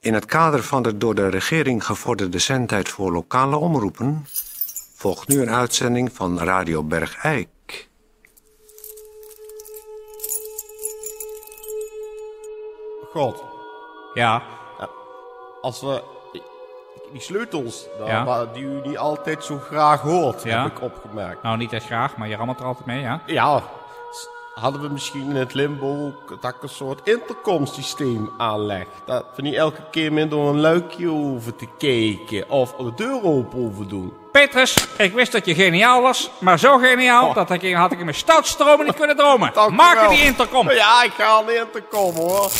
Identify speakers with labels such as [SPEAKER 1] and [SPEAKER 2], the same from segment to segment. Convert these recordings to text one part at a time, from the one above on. [SPEAKER 1] In het kader van de door de regering gevorderde zendtijd voor lokale omroepen volgt nu een uitzending van Radio Bergijk.
[SPEAKER 2] God,
[SPEAKER 3] Ja,
[SPEAKER 2] als we die sleutels, nou,
[SPEAKER 3] Ja.
[SPEAKER 2] waar- die u niet altijd zo graag hoort,
[SPEAKER 3] Ja.
[SPEAKER 2] heb ik opgemerkt.
[SPEAKER 3] nou niet echt graag, maar je rammelt er altijd mee, ja?
[SPEAKER 2] Ja, s- hadden we misschien in het limbo ook dat ik een soort intercomsysteem aanleg. Dat we niet elke keer meer door een luikje hoeven te kijken of de deur open hoeven doen.
[SPEAKER 3] Petrus, ik wist dat je geniaal was, maar zo geniaal
[SPEAKER 2] Oh.
[SPEAKER 3] dat ik, had ik in mijn stoutste dromen niet kunnen dromen.
[SPEAKER 2] Dank u
[SPEAKER 3] Maak er
[SPEAKER 2] wel.
[SPEAKER 3] die intercom.
[SPEAKER 2] Ja, ik ga aan de intercom hoor.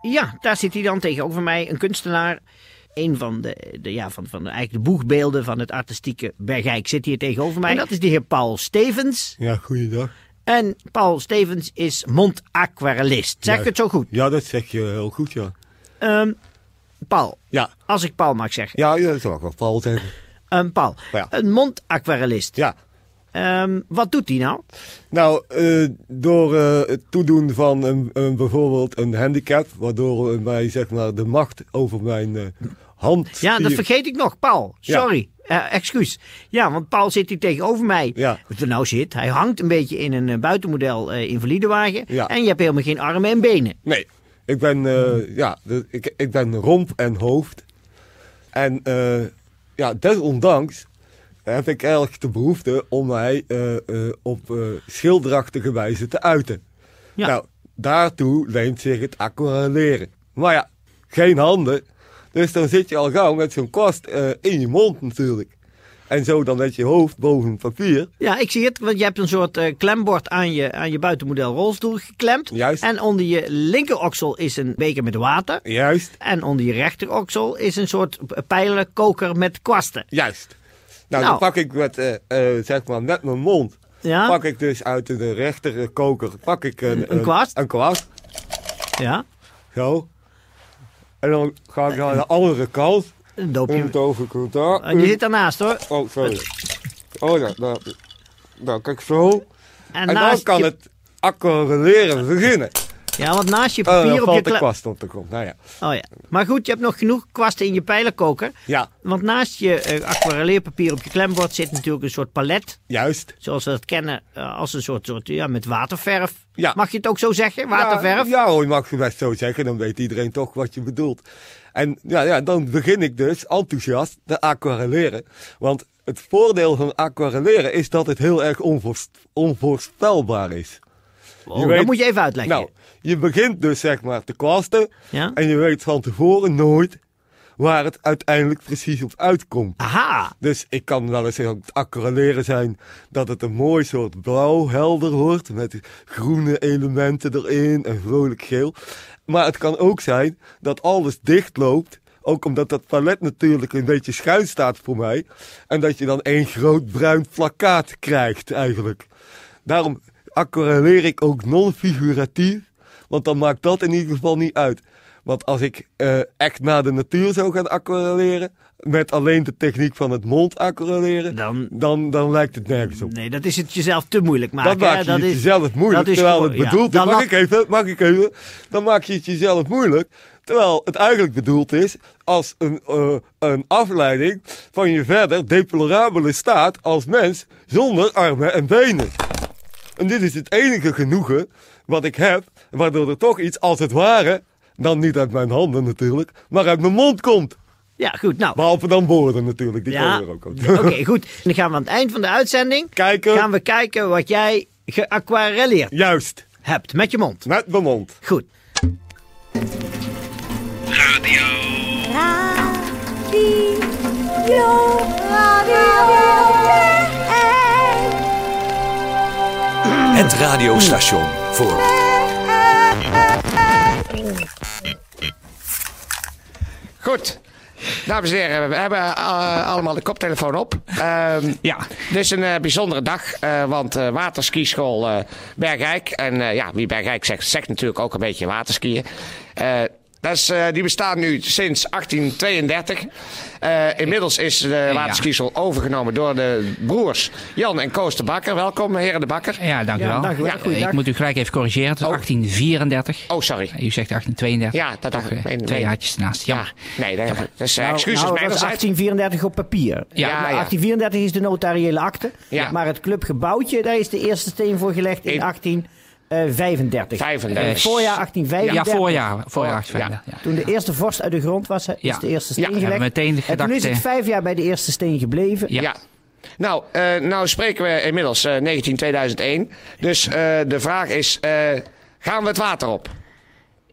[SPEAKER 4] Ja, daar zit hij dan tegenover mij, een kunstenaar. Een van de, de, ja, van, van de, eigenlijk de boegbeelden van het artistieke Bergijk zit hier tegenover mij. En dat is de heer Paul Stevens.
[SPEAKER 5] Ja, goeiedag.
[SPEAKER 4] En Paul Stevens is mondaquarellist. Zeg ik
[SPEAKER 5] Ja.
[SPEAKER 4] het zo goed?
[SPEAKER 5] Ja, dat zeg je heel goed, ja.
[SPEAKER 4] Ehm, Paul,
[SPEAKER 5] Ja,
[SPEAKER 4] als ik Paul mag zeggen.
[SPEAKER 5] ja, ja dat zou ik wel Paul zeggen.
[SPEAKER 4] Ehm, Paul,
[SPEAKER 5] Ja.
[SPEAKER 4] een mondaquarellist.
[SPEAKER 5] Ja.
[SPEAKER 4] Ehm, wat doet hij nou?
[SPEAKER 5] Nou, eh, door eh, het toedoen van een, een, bijvoorbeeld een handicap, waardoor eh, mij zeg maar de macht over mijn eh, hand.
[SPEAKER 4] Ja, dat vergeet ik nog, Paul.
[SPEAKER 5] Ja.
[SPEAKER 4] Sorry. Eh, excuus. Ja, want Paul zit hier tegenover mij.
[SPEAKER 5] Ja.
[SPEAKER 4] Of er Nou zit, hij hangt een beetje in een eh, buitenmodel eh invalidewagen.
[SPEAKER 5] Ja.
[SPEAKER 4] En je hebt helemaal geen armen en benen.
[SPEAKER 5] Nee, ik ben, eh, ja, de- ik, ik ben romp en hoofd. En eh, ja, desondanks heb ik erg de behoefte om mij eh, eh, op eh, schilderachtige wijze te uiten.
[SPEAKER 4] Ja.
[SPEAKER 5] Nou, daartoe leent zich het aquarelleren. Maar ja, geen handen. Dus dan zit je al gauw met zo'n kwast eh, in je mond natuurlijk. En zo dan met je hoofd boven het papier.
[SPEAKER 4] Ja, ik zie het, want je hebt een soort eh, klembord aan je, aan je buitenmodel rolstoel geklemd.
[SPEAKER 5] Juist.
[SPEAKER 4] En onder je linkeroksel is een beker met water.
[SPEAKER 5] Juist.
[SPEAKER 4] En onder je rechteroksel is een soort pijlenkoker met kwasten.
[SPEAKER 5] Juist. Nou,
[SPEAKER 4] Nou.
[SPEAKER 5] dan pak ik met, eh, eh, zeg maar met mijn mond.
[SPEAKER 4] Ja.
[SPEAKER 5] Pak ik dus uit de rechterkoker. Pak ik een,
[SPEAKER 4] Een kwast?
[SPEAKER 5] Een kwast.
[SPEAKER 4] Ja,
[SPEAKER 5] Zo. En dan ga ik naar de andere kant.
[SPEAKER 4] een
[SPEAKER 5] Om
[SPEAKER 4] doopje.
[SPEAKER 5] het over daar.
[SPEAKER 4] En je zit daarnaast hoor.
[SPEAKER 5] Oh, sorry. Oh ja, nou, nou kijk zo.
[SPEAKER 4] En,
[SPEAKER 5] En, dan
[SPEAKER 4] naast
[SPEAKER 5] kan
[SPEAKER 4] je-
[SPEAKER 5] het accoreleren beginnen.
[SPEAKER 4] Ja, want naast je
[SPEAKER 5] Oh,
[SPEAKER 4] papier
[SPEAKER 5] dan
[SPEAKER 4] op je
[SPEAKER 5] valt de
[SPEAKER 4] klem...
[SPEAKER 5] kwast op de grond. Nou ja.
[SPEAKER 4] Oh ja. Maar goed, je hebt nog genoeg kwasten in je pijlenkoker.
[SPEAKER 5] Ja,
[SPEAKER 4] Want naast je eh, aquarelleerpapier op je klembord zit natuurlijk een soort palet.
[SPEAKER 5] juist.
[SPEAKER 4] Zoals we dat kennen eh, als een soort, soort ja, met waterverf.
[SPEAKER 5] Ja.
[SPEAKER 4] Mag je het ook zo zeggen? Waterverf?
[SPEAKER 5] Ja, ja hoor, je mag het best zo zeggen. Dan weet iedereen toch wat je bedoelt. En ja, ja, dan begin ik dus enthousiast te aquarelleren. Want het voordeel van aquarelleren is dat het heel erg onvoors- onvoorspelbaar is.
[SPEAKER 4] Oh,
[SPEAKER 5] Je weet-
[SPEAKER 4] Dat moet je even uitleggen.
[SPEAKER 5] Nou, je begint dus zeg maar te kwasten.
[SPEAKER 4] Ja?
[SPEAKER 5] En je weet van tevoren nooit waar het uiteindelijk precies op uitkomt.
[SPEAKER 4] Aha.
[SPEAKER 5] Dus ik kan wel eens heel accoreleren zijn dat het een mooi soort blauw helder wordt. Met groene elementen erin en vrolijk geel. Maar het kan ook zijn dat alles dicht loopt. Ook omdat dat palet natuurlijk een beetje schuin staat voor mij. En dat je dan één groot bruin plakkaat krijgt eigenlijk. Daarom accoreleer ik ook non-figuratief. Want dan maakt dat in ieder geval niet uit. Want als ik eh, echt naar de natuur zou gaan aquarelleren, met alleen de techniek van het mond aquarelleren,
[SPEAKER 4] Dan-
[SPEAKER 5] dan, dan, lijkt het nergens op.
[SPEAKER 4] Nee, dat is het jezelf te moeilijk maken.
[SPEAKER 5] dat maak
[SPEAKER 4] hè?
[SPEAKER 5] je het jezelf moeilijk,
[SPEAKER 4] dat Ah, is
[SPEAKER 5] terwijl
[SPEAKER 4] gewoon-
[SPEAKER 5] het
[SPEAKER 4] ja,
[SPEAKER 5] bedoeld
[SPEAKER 4] dan
[SPEAKER 5] is, mag
[SPEAKER 4] laat-
[SPEAKER 5] ik even, mag ik even, dan maak je het jezelf moeilijk, terwijl het eigenlijk bedoeld is als een, eh, een afleiding van je verder deplorabele staat als mens zonder armen en benen. En dit is het enige genoegen wat ik heb, waardoor er toch iets als het ware, dan niet uit mijn handen natuurlijk, maar uit mijn mond komt.
[SPEAKER 4] Ja, goed. Nou,
[SPEAKER 5] Behalve dan woorden natuurlijk, die
[SPEAKER 4] ja.
[SPEAKER 5] komen er ook uit.
[SPEAKER 4] Oké, goed. Dan gaan we aan het eind van de uitzending
[SPEAKER 5] Kijken,
[SPEAKER 4] gaan we kijken wat jij geaquarelleerd
[SPEAKER 5] juist,
[SPEAKER 4] hebt met je mond.
[SPEAKER 5] met mijn mond.
[SPEAKER 4] Goed.
[SPEAKER 6] Radio, radio,
[SPEAKER 7] Het radiostation voor
[SPEAKER 8] Goed. Dames en heren, we hebben eh, allemaal de koptelefoon op. Ehm
[SPEAKER 3] Ja.
[SPEAKER 8] Dus een eh, bijzondere dag, eh, want eh waterskischool eh, Bergijk. En eh, ja, wie Bergijk zegt, zegt natuurlijk ook een beetje waterskiën. Eh, Dat is, eh, die bestaat nu sinds 1832. Eh, inmiddels is de waterskiesel overgenomen door de broers Jan en Koos de Bakker. Welkom, heren de Bakker.
[SPEAKER 9] Ja, dank u
[SPEAKER 4] Ja,
[SPEAKER 9] wel.
[SPEAKER 4] dank u wel. Goeiedag.
[SPEAKER 9] ik moet u gelijk even corrigeren. Het is 1834.
[SPEAKER 8] Oh, sorry.
[SPEAKER 9] U zegt 1832.
[SPEAKER 8] Oh. Ja, dat dacht ik. Nee, nee.
[SPEAKER 9] Twee haartjes ernaast.
[SPEAKER 8] Ja,
[SPEAKER 9] Jammer.
[SPEAKER 8] nee, dat, dat is eh,
[SPEAKER 4] Nou,
[SPEAKER 8] excuses
[SPEAKER 4] nou, dat was
[SPEAKER 8] mijnerzijds.
[SPEAKER 4] 1834 op papier.
[SPEAKER 9] Ja,
[SPEAKER 8] ja.
[SPEAKER 4] Maar 1834 is de notariële akte.
[SPEAKER 8] Ja.
[SPEAKER 4] Maar het clubgebouwtje, daar is de eerste steen voor gelegd in
[SPEAKER 8] In-
[SPEAKER 4] 1835.
[SPEAKER 8] 35.
[SPEAKER 4] Het Eh, voorjaar 1835.
[SPEAKER 9] Ja, voorjaar. Voorjaar.
[SPEAKER 8] Oh, Ja.
[SPEAKER 9] Ja. Ja.
[SPEAKER 4] Toen de eerste vorst uit de grond was, is
[SPEAKER 9] Ja.
[SPEAKER 4] de eerste steen
[SPEAKER 8] Ja,
[SPEAKER 4] gelegd.
[SPEAKER 9] hebben we meteen
[SPEAKER 4] en toen
[SPEAKER 9] gedacht,
[SPEAKER 4] is het
[SPEAKER 9] eh,
[SPEAKER 4] vijf jaar bij de eerste steen gebleven.
[SPEAKER 9] Ja.
[SPEAKER 8] Ja. Nou, eh, nou spreken we inmiddels eh 19 2001. Dus eh, de vraag is, eh, gaan we het water op?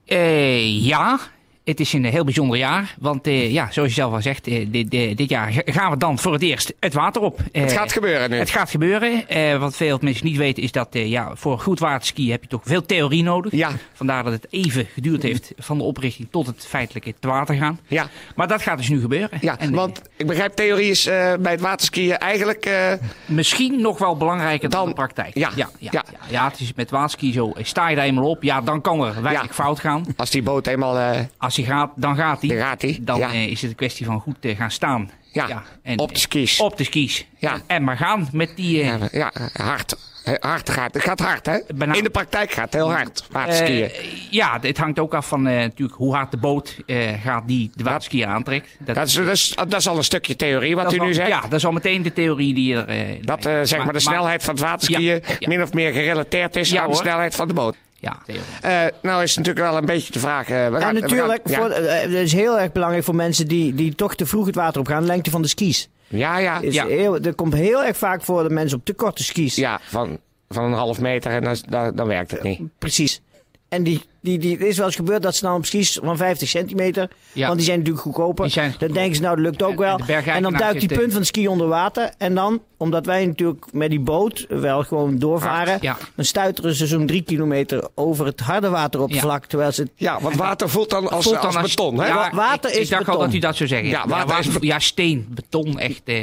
[SPEAKER 9] Eh, ja. Het is een heel bijzonder jaar, want eh, ja, zoals je zelf al zegt, eh, dit, dit- dit jaar gaan we dan voor het eerst het water op.
[SPEAKER 8] Het
[SPEAKER 9] Eh,
[SPEAKER 8] gaat gebeuren nu.
[SPEAKER 9] Het gaat gebeuren. Eh, wat veel mensen niet weten is dat eh, ja, voor goed waterskiën heb je toch veel theorie nodig.
[SPEAKER 8] Ja.
[SPEAKER 9] Vandaar dat het even geduurd heeft van de oprichting tot het feitelijke te water gaan.
[SPEAKER 8] Ja.
[SPEAKER 9] Maar dat gaat dus nu gebeuren.
[SPEAKER 8] Ja,
[SPEAKER 9] En, eh,
[SPEAKER 8] want ik begrijp theorie is eh, bij het waterskiën eigenlijk... eh,
[SPEAKER 9] misschien nog wel belangrijker dan,
[SPEAKER 8] Dan-
[SPEAKER 9] de praktijk.
[SPEAKER 8] ja,
[SPEAKER 9] Ja, ja, ja.
[SPEAKER 8] ja.
[SPEAKER 9] Ja, het is met waterski zo. Eh, Sta je daar eenmaal op, ja, dan kan er weinig
[SPEAKER 8] Ja.
[SPEAKER 9] fout gaan.
[SPEAKER 8] als die boot eenmaal... eh,
[SPEAKER 9] Als hij gaat, dan gaat hij.
[SPEAKER 8] Dan gaat hij,
[SPEAKER 9] Dan
[SPEAKER 8] ja.
[SPEAKER 9] eh, is het een kwestie van goed eh, gaan staan. eh,
[SPEAKER 8] Ja, op de skis.
[SPEAKER 9] Op de skis.
[SPEAKER 8] Ja.
[SPEAKER 9] En maar gaan met die... eh,
[SPEAKER 8] ja, ja, hard. Eh, Hard gaat. Het gaat hard, hè?
[SPEAKER 9] Bijna-
[SPEAKER 8] In de praktijk gaat het heel hard. Waterskiën.
[SPEAKER 9] Eh, ja, het hangt ook af van eh, natuurlijk hoe hard de boot eh, gaat die de waterskier aantrekt. Dat,
[SPEAKER 8] dat, is, dat, is, dat is al een stukje theorie wat
[SPEAKER 9] dat
[SPEAKER 8] u
[SPEAKER 9] is al-
[SPEAKER 8] nu zegt.
[SPEAKER 9] Ja, dat is al meteen de theorie die er... eh,
[SPEAKER 8] Dat eh,
[SPEAKER 9] bij-
[SPEAKER 8] zeg maar, de snelheid van het waterskiën
[SPEAKER 9] Ja, ja.
[SPEAKER 8] min of meer gerelateerd is
[SPEAKER 9] Ja,
[SPEAKER 8] aan de
[SPEAKER 9] hoor.
[SPEAKER 8] snelheid van de boot.
[SPEAKER 9] Ja, theorie.
[SPEAKER 8] Eh, nou is het natuurlijk wel een beetje de vraag. eh, we gaan-
[SPEAKER 4] En
[SPEAKER 8] we
[SPEAKER 4] natuurlijk,
[SPEAKER 8] gaan-
[SPEAKER 4] voor, eh, het is heel erg belangrijk voor mensen die, die toch te vroeg het water op gaan. De lengte van de skis.
[SPEAKER 8] ja, ja, ja,
[SPEAKER 4] Is
[SPEAKER 9] Ja.
[SPEAKER 4] heel, dat komt heel erg vaak voor de mensen op te korte skis.
[SPEAKER 8] ja, van, van een half meter en dan, dan, dan werkt het niet.
[SPEAKER 4] Precies. En die, die, die, het is wel eens gebeurd dat ze dan op skis van 50 centimeter,
[SPEAKER 9] Ja.
[SPEAKER 4] want die zijn natuurlijk goedkoper.
[SPEAKER 9] Die zijn
[SPEAKER 4] Dan
[SPEAKER 9] goedkoper.
[SPEAKER 4] denken ze, nou dat lukt ook
[SPEAKER 9] En- en
[SPEAKER 4] wel.
[SPEAKER 9] de
[SPEAKER 4] En,
[SPEAKER 9] bergeigenaar
[SPEAKER 4] dan duikt die
[SPEAKER 9] zit, eh,
[SPEAKER 4] punt van het ski onder water. En dan, omdat wij natuurlijk met die boot wel gewoon doorvaren,
[SPEAKER 9] Hard, ja.
[SPEAKER 4] dan stuiteren ze zo'n drie kilometer over het harde wateroppervlak. Terwijl ze,
[SPEAKER 8] Ja, want water voelt dan als,
[SPEAKER 9] Voelt dan
[SPEAKER 8] als, beton. Hè?
[SPEAKER 9] Ja,
[SPEAKER 4] Wa- water
[SPEAKER 9] ik, ik
[SPEAKER 4] is
[SPEAKER 9] dacht al
[SPEAKER 4] beton.
[SPEAKER 9] dat u dat zou zeggen.
[SPEAKER 8] Ja, water is be-
[SPEAKER 9] ja, steen, beton, echt... eh,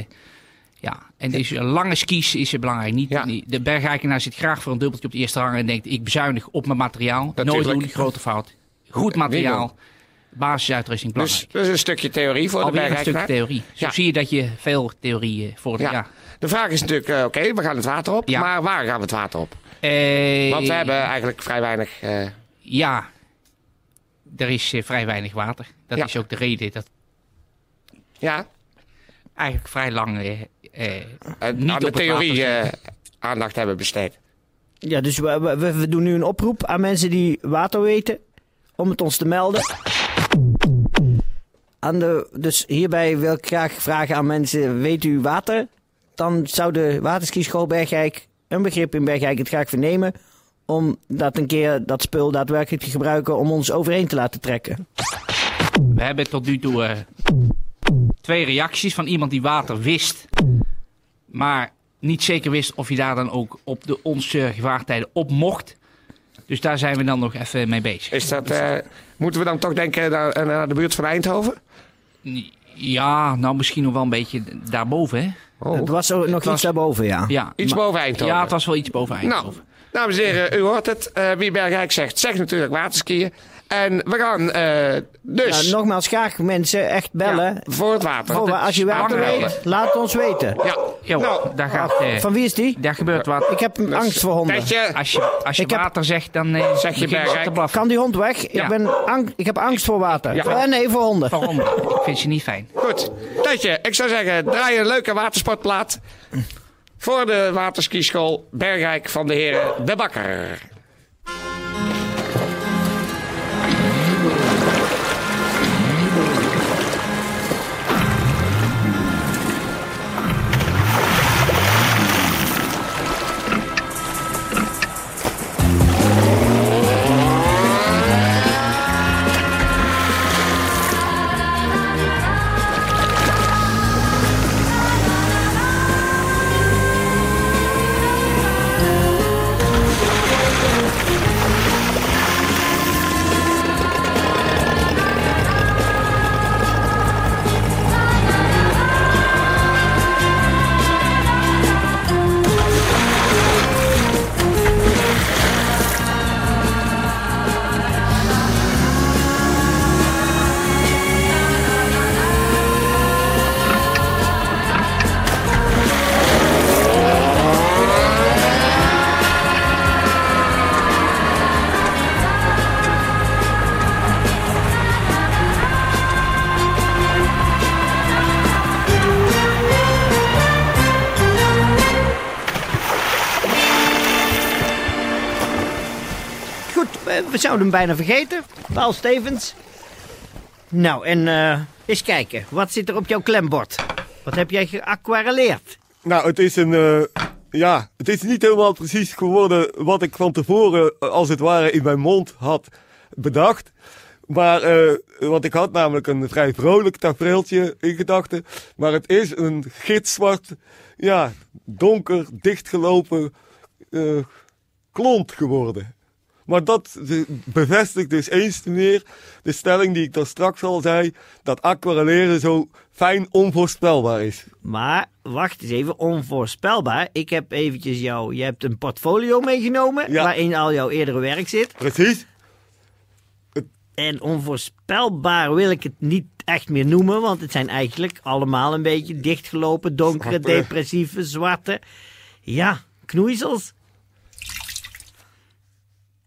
[SPEAKER 9] ja, en dus een lange skis is eh, belangrijk. Niet,
[SPEAKER 8] Ja.
[SPEAKER 9] niet- De bergrijkenaar zit graag voor een dubbeltje op de eerste rang en denkt... ik bezuinig op mijn materiaal.
[SPEAKER 8] Natuurlijk.
[SPEAKER 9] Nooit doen, grote fout. Goed materiaal, basisuitrusting, belangrijk.
[SPEAKER 8] dus, dus een stukje theorie voor de
[SPEAKER 9] Alweer een stuk
[SPEAKER 8] bergrijkenaar.
[SPEAKER 9] theorie. Zo
[SPEAKER 8] Ja.
[SPEAKER 9] zie je dat je veel theorieën voor de
[SPEAKER 8] Ja.
[SPEAKER 9] ja.
[SPEAKER 8] De vraag is natuurlijk, eh, oké, we gaan het water op.
[SPEAKER 9] Ja.
[SPEAKER 8] Maar waar gaan we het water op?
[SPEAKER 9] Eh,
[SPEAKER 8] Want we hebben eigenlijk vrij weinig... eh,
[SPEAKER 9] Ja, er is eh, vrij weinig water. Dat
[SPEAKER 8] Ja.
[SPEAKER 9] is ook de reden dat
[SPEAKER 8] ja,
[SPEAKER 9] eigenlijk vrij lang eh, eh,
[SPEAKER 8] eh,
[SPEAKER 9] Niet
[SPEAKER 8] aan
[SPEAKER 9] op
[SPEAKER 8] de
[SPEAKER 9] het
[SPEAKER 8] theorie
[SPEAKER 9] water
[SPEAKER 8] eh, aandacht hebben besteed.
[SPEAKER 4] ja, dus we, we, we doen nu een oproep aan mensen die water weten, om het ons te melden. Aan de, dus hierbij wil ik graag vragen aan mensen, weet u water? Dan zou de waterskischool Bergijk een begrip in Bergijk het graag vernemen... om dat een keer dat spul daadwerkelijk te gebruiken om ons overheen te laten trekken.
[SPEAKER 9] We hebben tot nu toe eh, twee reacties van iemand die water wist, maar niet zeker wist of hij daar dan ook op de onze gevaartijden op mocht. Dus daar zijn we dan nog even mee bezig.
[SPEAKER 8] Is dat, eh, moeten we dan toch denken naar, eh, naar de buurt van Eindhoven?
[SPEAKER 9] Ja, nou misschien nog wel een beetje daarboven, hè?
[SPEAKER 8] Oh.
[SPEAKER 4] Het was ook nog iets daarboven, ja.
[SPEAKER 9] Ja,
[SPEAKER 8] Iets
[SPEAKER 9] maar-
[SPEAKER 8] boven Eindhoven.
[SPEAKER 9] Ja, het was wel iets boven Eindhoven.
[SPEAKER 8] Nou, dames en heren, u hoort het. Eh wie Bergrijk zegt, zegt natuurlijk waterskiën. En we gaan eh, dus
[SPEAKER 4] Nou, nogmaals, graag mensen echt bellen.
[SPEAKER 8] voor het water.
[SPEAKER 4] Oh, maar als je water
[SPEAKER 9] Aanmelden.
[SPEAKER 4] weet, laat het ons weten.
[SPEAKER 8] Ja,
[SPEAKER 9] Ja,
[SPEAKER 8] nou,
[SPEAKER 9] daar gaat. eh,
[SPEAKER 4] Van wie is die?
[SPEAKER 9] daar gebeurt wat.
[SPEAKER 4] Ik heb angst voor honden.
[SPEAKER 8] Tijdje,
[SPEAKER 9] Als je, als je
[SPEAKER 4] Ik heb-
[SPEAKER 9] water zegt, dan eh,
[SPEAKER 8] Eh. Zeg je
[SPEAKER 9] begin
[SPEAKER 8] Bergrijk.
[SPEAKER 9] te blaffen.
[SPEAKER 4] Kan die hond weg?
[SPEAKER 9] Ja. Oh.
[SPEAKER 4] Ik, ben ang- ik heb angst voor water.
[SPEAKER 8] Ja.
[SPEAKER 4] Eh, nee, voor honden.
[SPEAKER 9] Waarom? Ik vind ze niet fijn.
[SPEAKER 8] goed. Tijdje, ik zou zeggen, draai een leuke watersportplaat voor de waterskischool Bergrijk van de heren De Bakker.
[SPEAKER 6] Hey!
[SPEAKER 4] we zouden hem bijna vergeten. Paul Stevens. Nou, en eh, eens kijken. Wat zit er op jouw klembord? Wat heb jij geaquareleerd?
[SPEAKER 5] Nou, het is een. eh, ja, het is niet helemaal precies geworden wat ik van tevoren, eh, als het ware, in mijn mond had bedacht. Maar, eh want ik had namelijk een vrij vrolijk tafereeltje in gedachten. Maar het is een gitzwart, ja, donker, dichtgelopen eh, klont geworden. Maar dat eh, bevestigt dus eens te meer de stelling die ik daar straks al zei: dat aquarelleren zo fijn onvoorspelbaar is.
[SPEAKER 4] Maar wacht eens even, onvoorspelbaar. Ik heb eventjes jou. Je hebt een portfolio meegenomen
[SPEAKER 5] Ja.
[SPEAKER 4] waarin al jouw eerdere werk zit.
[SPEAKER 5] Precies?
[SPEAKER 4] En onvoorspelbaar wil ik het niet echt meer noemen, want het zijn eigenlijk allemaal een beetje dichtgelopen, donkere,
[SPEAKER 5] Zwarte.
[SPEAKER 4] depressieve, zwarte. Ja, knoeisels.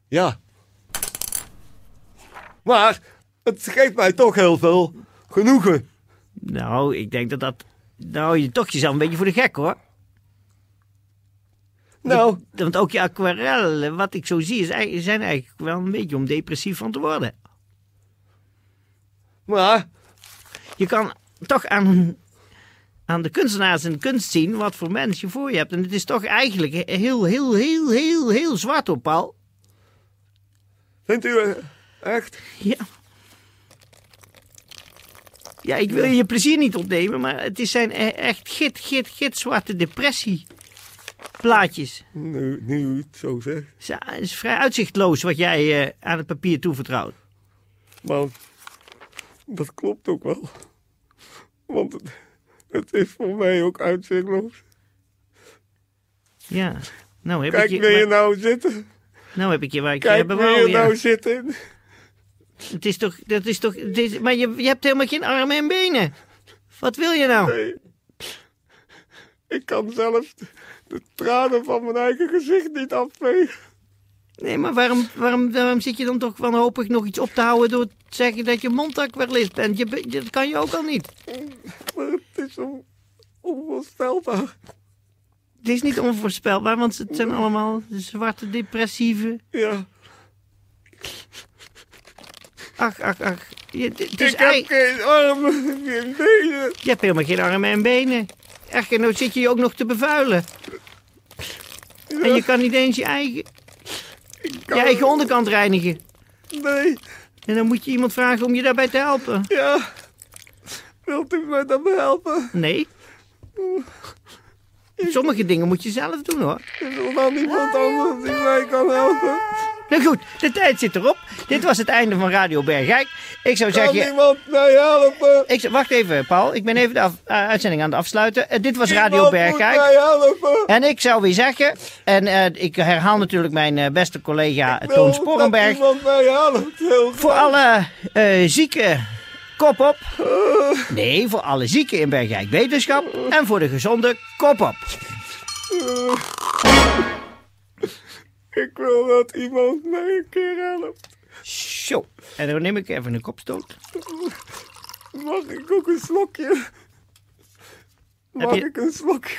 [SPEAKER 5] Ja. Maar het geeft mij toch heel veel genoegen.
[SPEAKER 4] Nou, ik denk dat dat. Nou, je toch jezelf een beetje voor de gek hoor.
[SPEAKER 5] Nou,
[SPEAKER 4] Want ook je aquarellen, wat ik zo zie, is, eigenlijk- zijn eigenlijk wel een beetje om depressief van te worden.
[SPEAKER 5] maar
[SPEAKER 4] Je kan toch aan, aan de kunstenaars en de kunst zien wat voor mens je voor je hebt. En het is toch eigenlijk heel, heel, heel, heel, heel zwart op al.
[SPEAKER 5] vindt u eh, echt?
[SPEAKER 4] Ja. Ja, ik wil je plezier niet ontnemen, maar het is zijn e- echt git, git, git zwarte depressie plaatjes.
[SPEAKER 5] Nu, nu u het zo zegt.
[SPEAKER 4] Ze- Het is vrij uitzichtloos wat jij eh, aan het papier toevertrouwt.
[SPEAKER 5] Maar dat klopt ook wel. Want het, het is voor mij ook uitzichtloos.
[SPEAKER 4] Ja. Nou heb
[SPEAKER 5] Kijk
[SPEAKER 4] ik je,
[SPEAKER 5] wil je
[SPEAKER 4] maar-
[SPEAKER 5] nou zitten.
[SPEAKER 4] nou heb ik je waar ik je
[SPEAKER 5] Kijk
[SPEAKER 4] hebben
[SPEAKER 5] wil
[SPEAKER 4] wou.
[SPEAKER 5] je
[SPEAKER 4] Ja.
[SPEAKER 5] nou zitten.
[SPEAKER 4] Het is toch, dat is toch, het is- maar je, je hebt helemaal geen armen en benen. Wat wil je nou?
[SPEAKER 5] Nee. Ik kan zelf de, de tranen van mijn eigen gezicht niet afvegen.
[SPEAKER 4] Nee, maar waarom, waarom, waarom zit je dan toch wanhopig nog iets op te houden door te zeggen dat je mondakwerlist bent? Je, be- dat kan je ook al niet.
[SPEAKER 5] Maar het is on, onvoorstelbaar.
[SPEAKER 4] Het is niet onvoorspelbaar, want het zijn allemaal zwarte depressieve.
[SPEAKER 5] Ja,
[SPEAKER 4] Ach, ach, ach. Je, d- het is
[SPEAKER 5] ik heb
[SPEAKER 4] ei-
[SPEAKER 5] geen armen, geen benen.
[SPEAKER 4] je hebt helemaal geen armen en benen. Echtgenoot zit je je ook nog te bevuilen. En je kan niet eens je eigen, je eigen onderkant reinigen.
[SPEAKER 5] Nee,
[SPEAKER 4] En dan moet je iemand vragen om je daarbij te helpen.
[SPEAKER 5] ja. Wilt u mij dan helpen?
[SPEAKER 4] Nee. Sommige dingen moet je zelf doen hoor.
[SPEAKER 5] Is er dan niemand anders die mij kan helpen?
[SPEAKER 4] Nou goed, de tijd zit erop. Dit was het einde van Radio Bergijk. Ik zou
[SPEAKER 5] Kan
[SPEAKER 4] zeggen.
[SPEAKER 5] iemand mij helpen?
[SPEAKER 4] Ik, zou- wacht even, Paul. Ik ben even de af- eh, uitzending aan het afsluiten. Eh, dit was Radio
[SPEAKER 5] Iemand moet mij
[SPEAKER 4] Bergijk.
[SPEAKER 5] helpen.
[SPEAKER 4] En ik zou weer zeggen. En eh, ik herhaal natuurlijk mijn eh, beste collega eh, Toon
[SPEAKER 5] Wil Dat
[SPEAKER 4] Sporenberg.
[SPEAKER 5] iemand mij helpt. Heel
[SPEAKER 4] Voor alle eh, zieken, kop op. Nee, voor alle zieken in Bergijk Wetenschap. En voor de gezonde, kop op.
[SPEAKER 5] Ik wil dat iemand mij een keer helpt.
[SPEAKER 4] Zo. En dan neem ik even een kopstoot.
[SPEAKER 5] Mag ik ook een slokje? Mag
[SPEAKER 4] je-
[SPEAKER 5] ik een slokje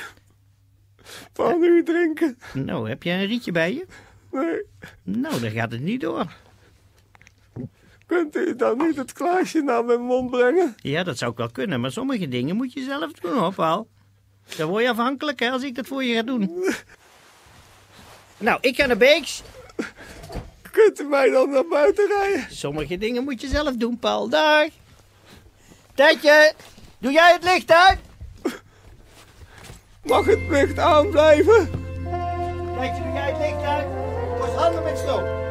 [SPEAKER 5] van u drinken?
[SPEAKER 4] Nou, heb je een rietje bij je?
[SPEAKER 5] Nee.
[SPEAKER 4] Nou, dan gaat het niet door.
[SPEAKER 5] Kunt u dan niet het glaasje naar mijn mond brengen?
[SPEAKER 4] Ja, dat zou ik wel kunnen, maar sommige dingen moet je zelf doen hoor, Paul. Dan word je afhankelijk hè, als ik dat voor je ga doen. Nou, ik ga naar Beeks.
[SPEAKER 5] Kunt u mij dan naar buiten rijden?
[SPEAKER 4] Sommige dingen moet je zelf doen, Paul. Dag. Tijdje, doe jij het licht uit?
[SPEAKER 5] Mag het licht aanblijven?
[SPEAKER 4] Tijdje, doe jij het licht uit? Kost handen met sloop.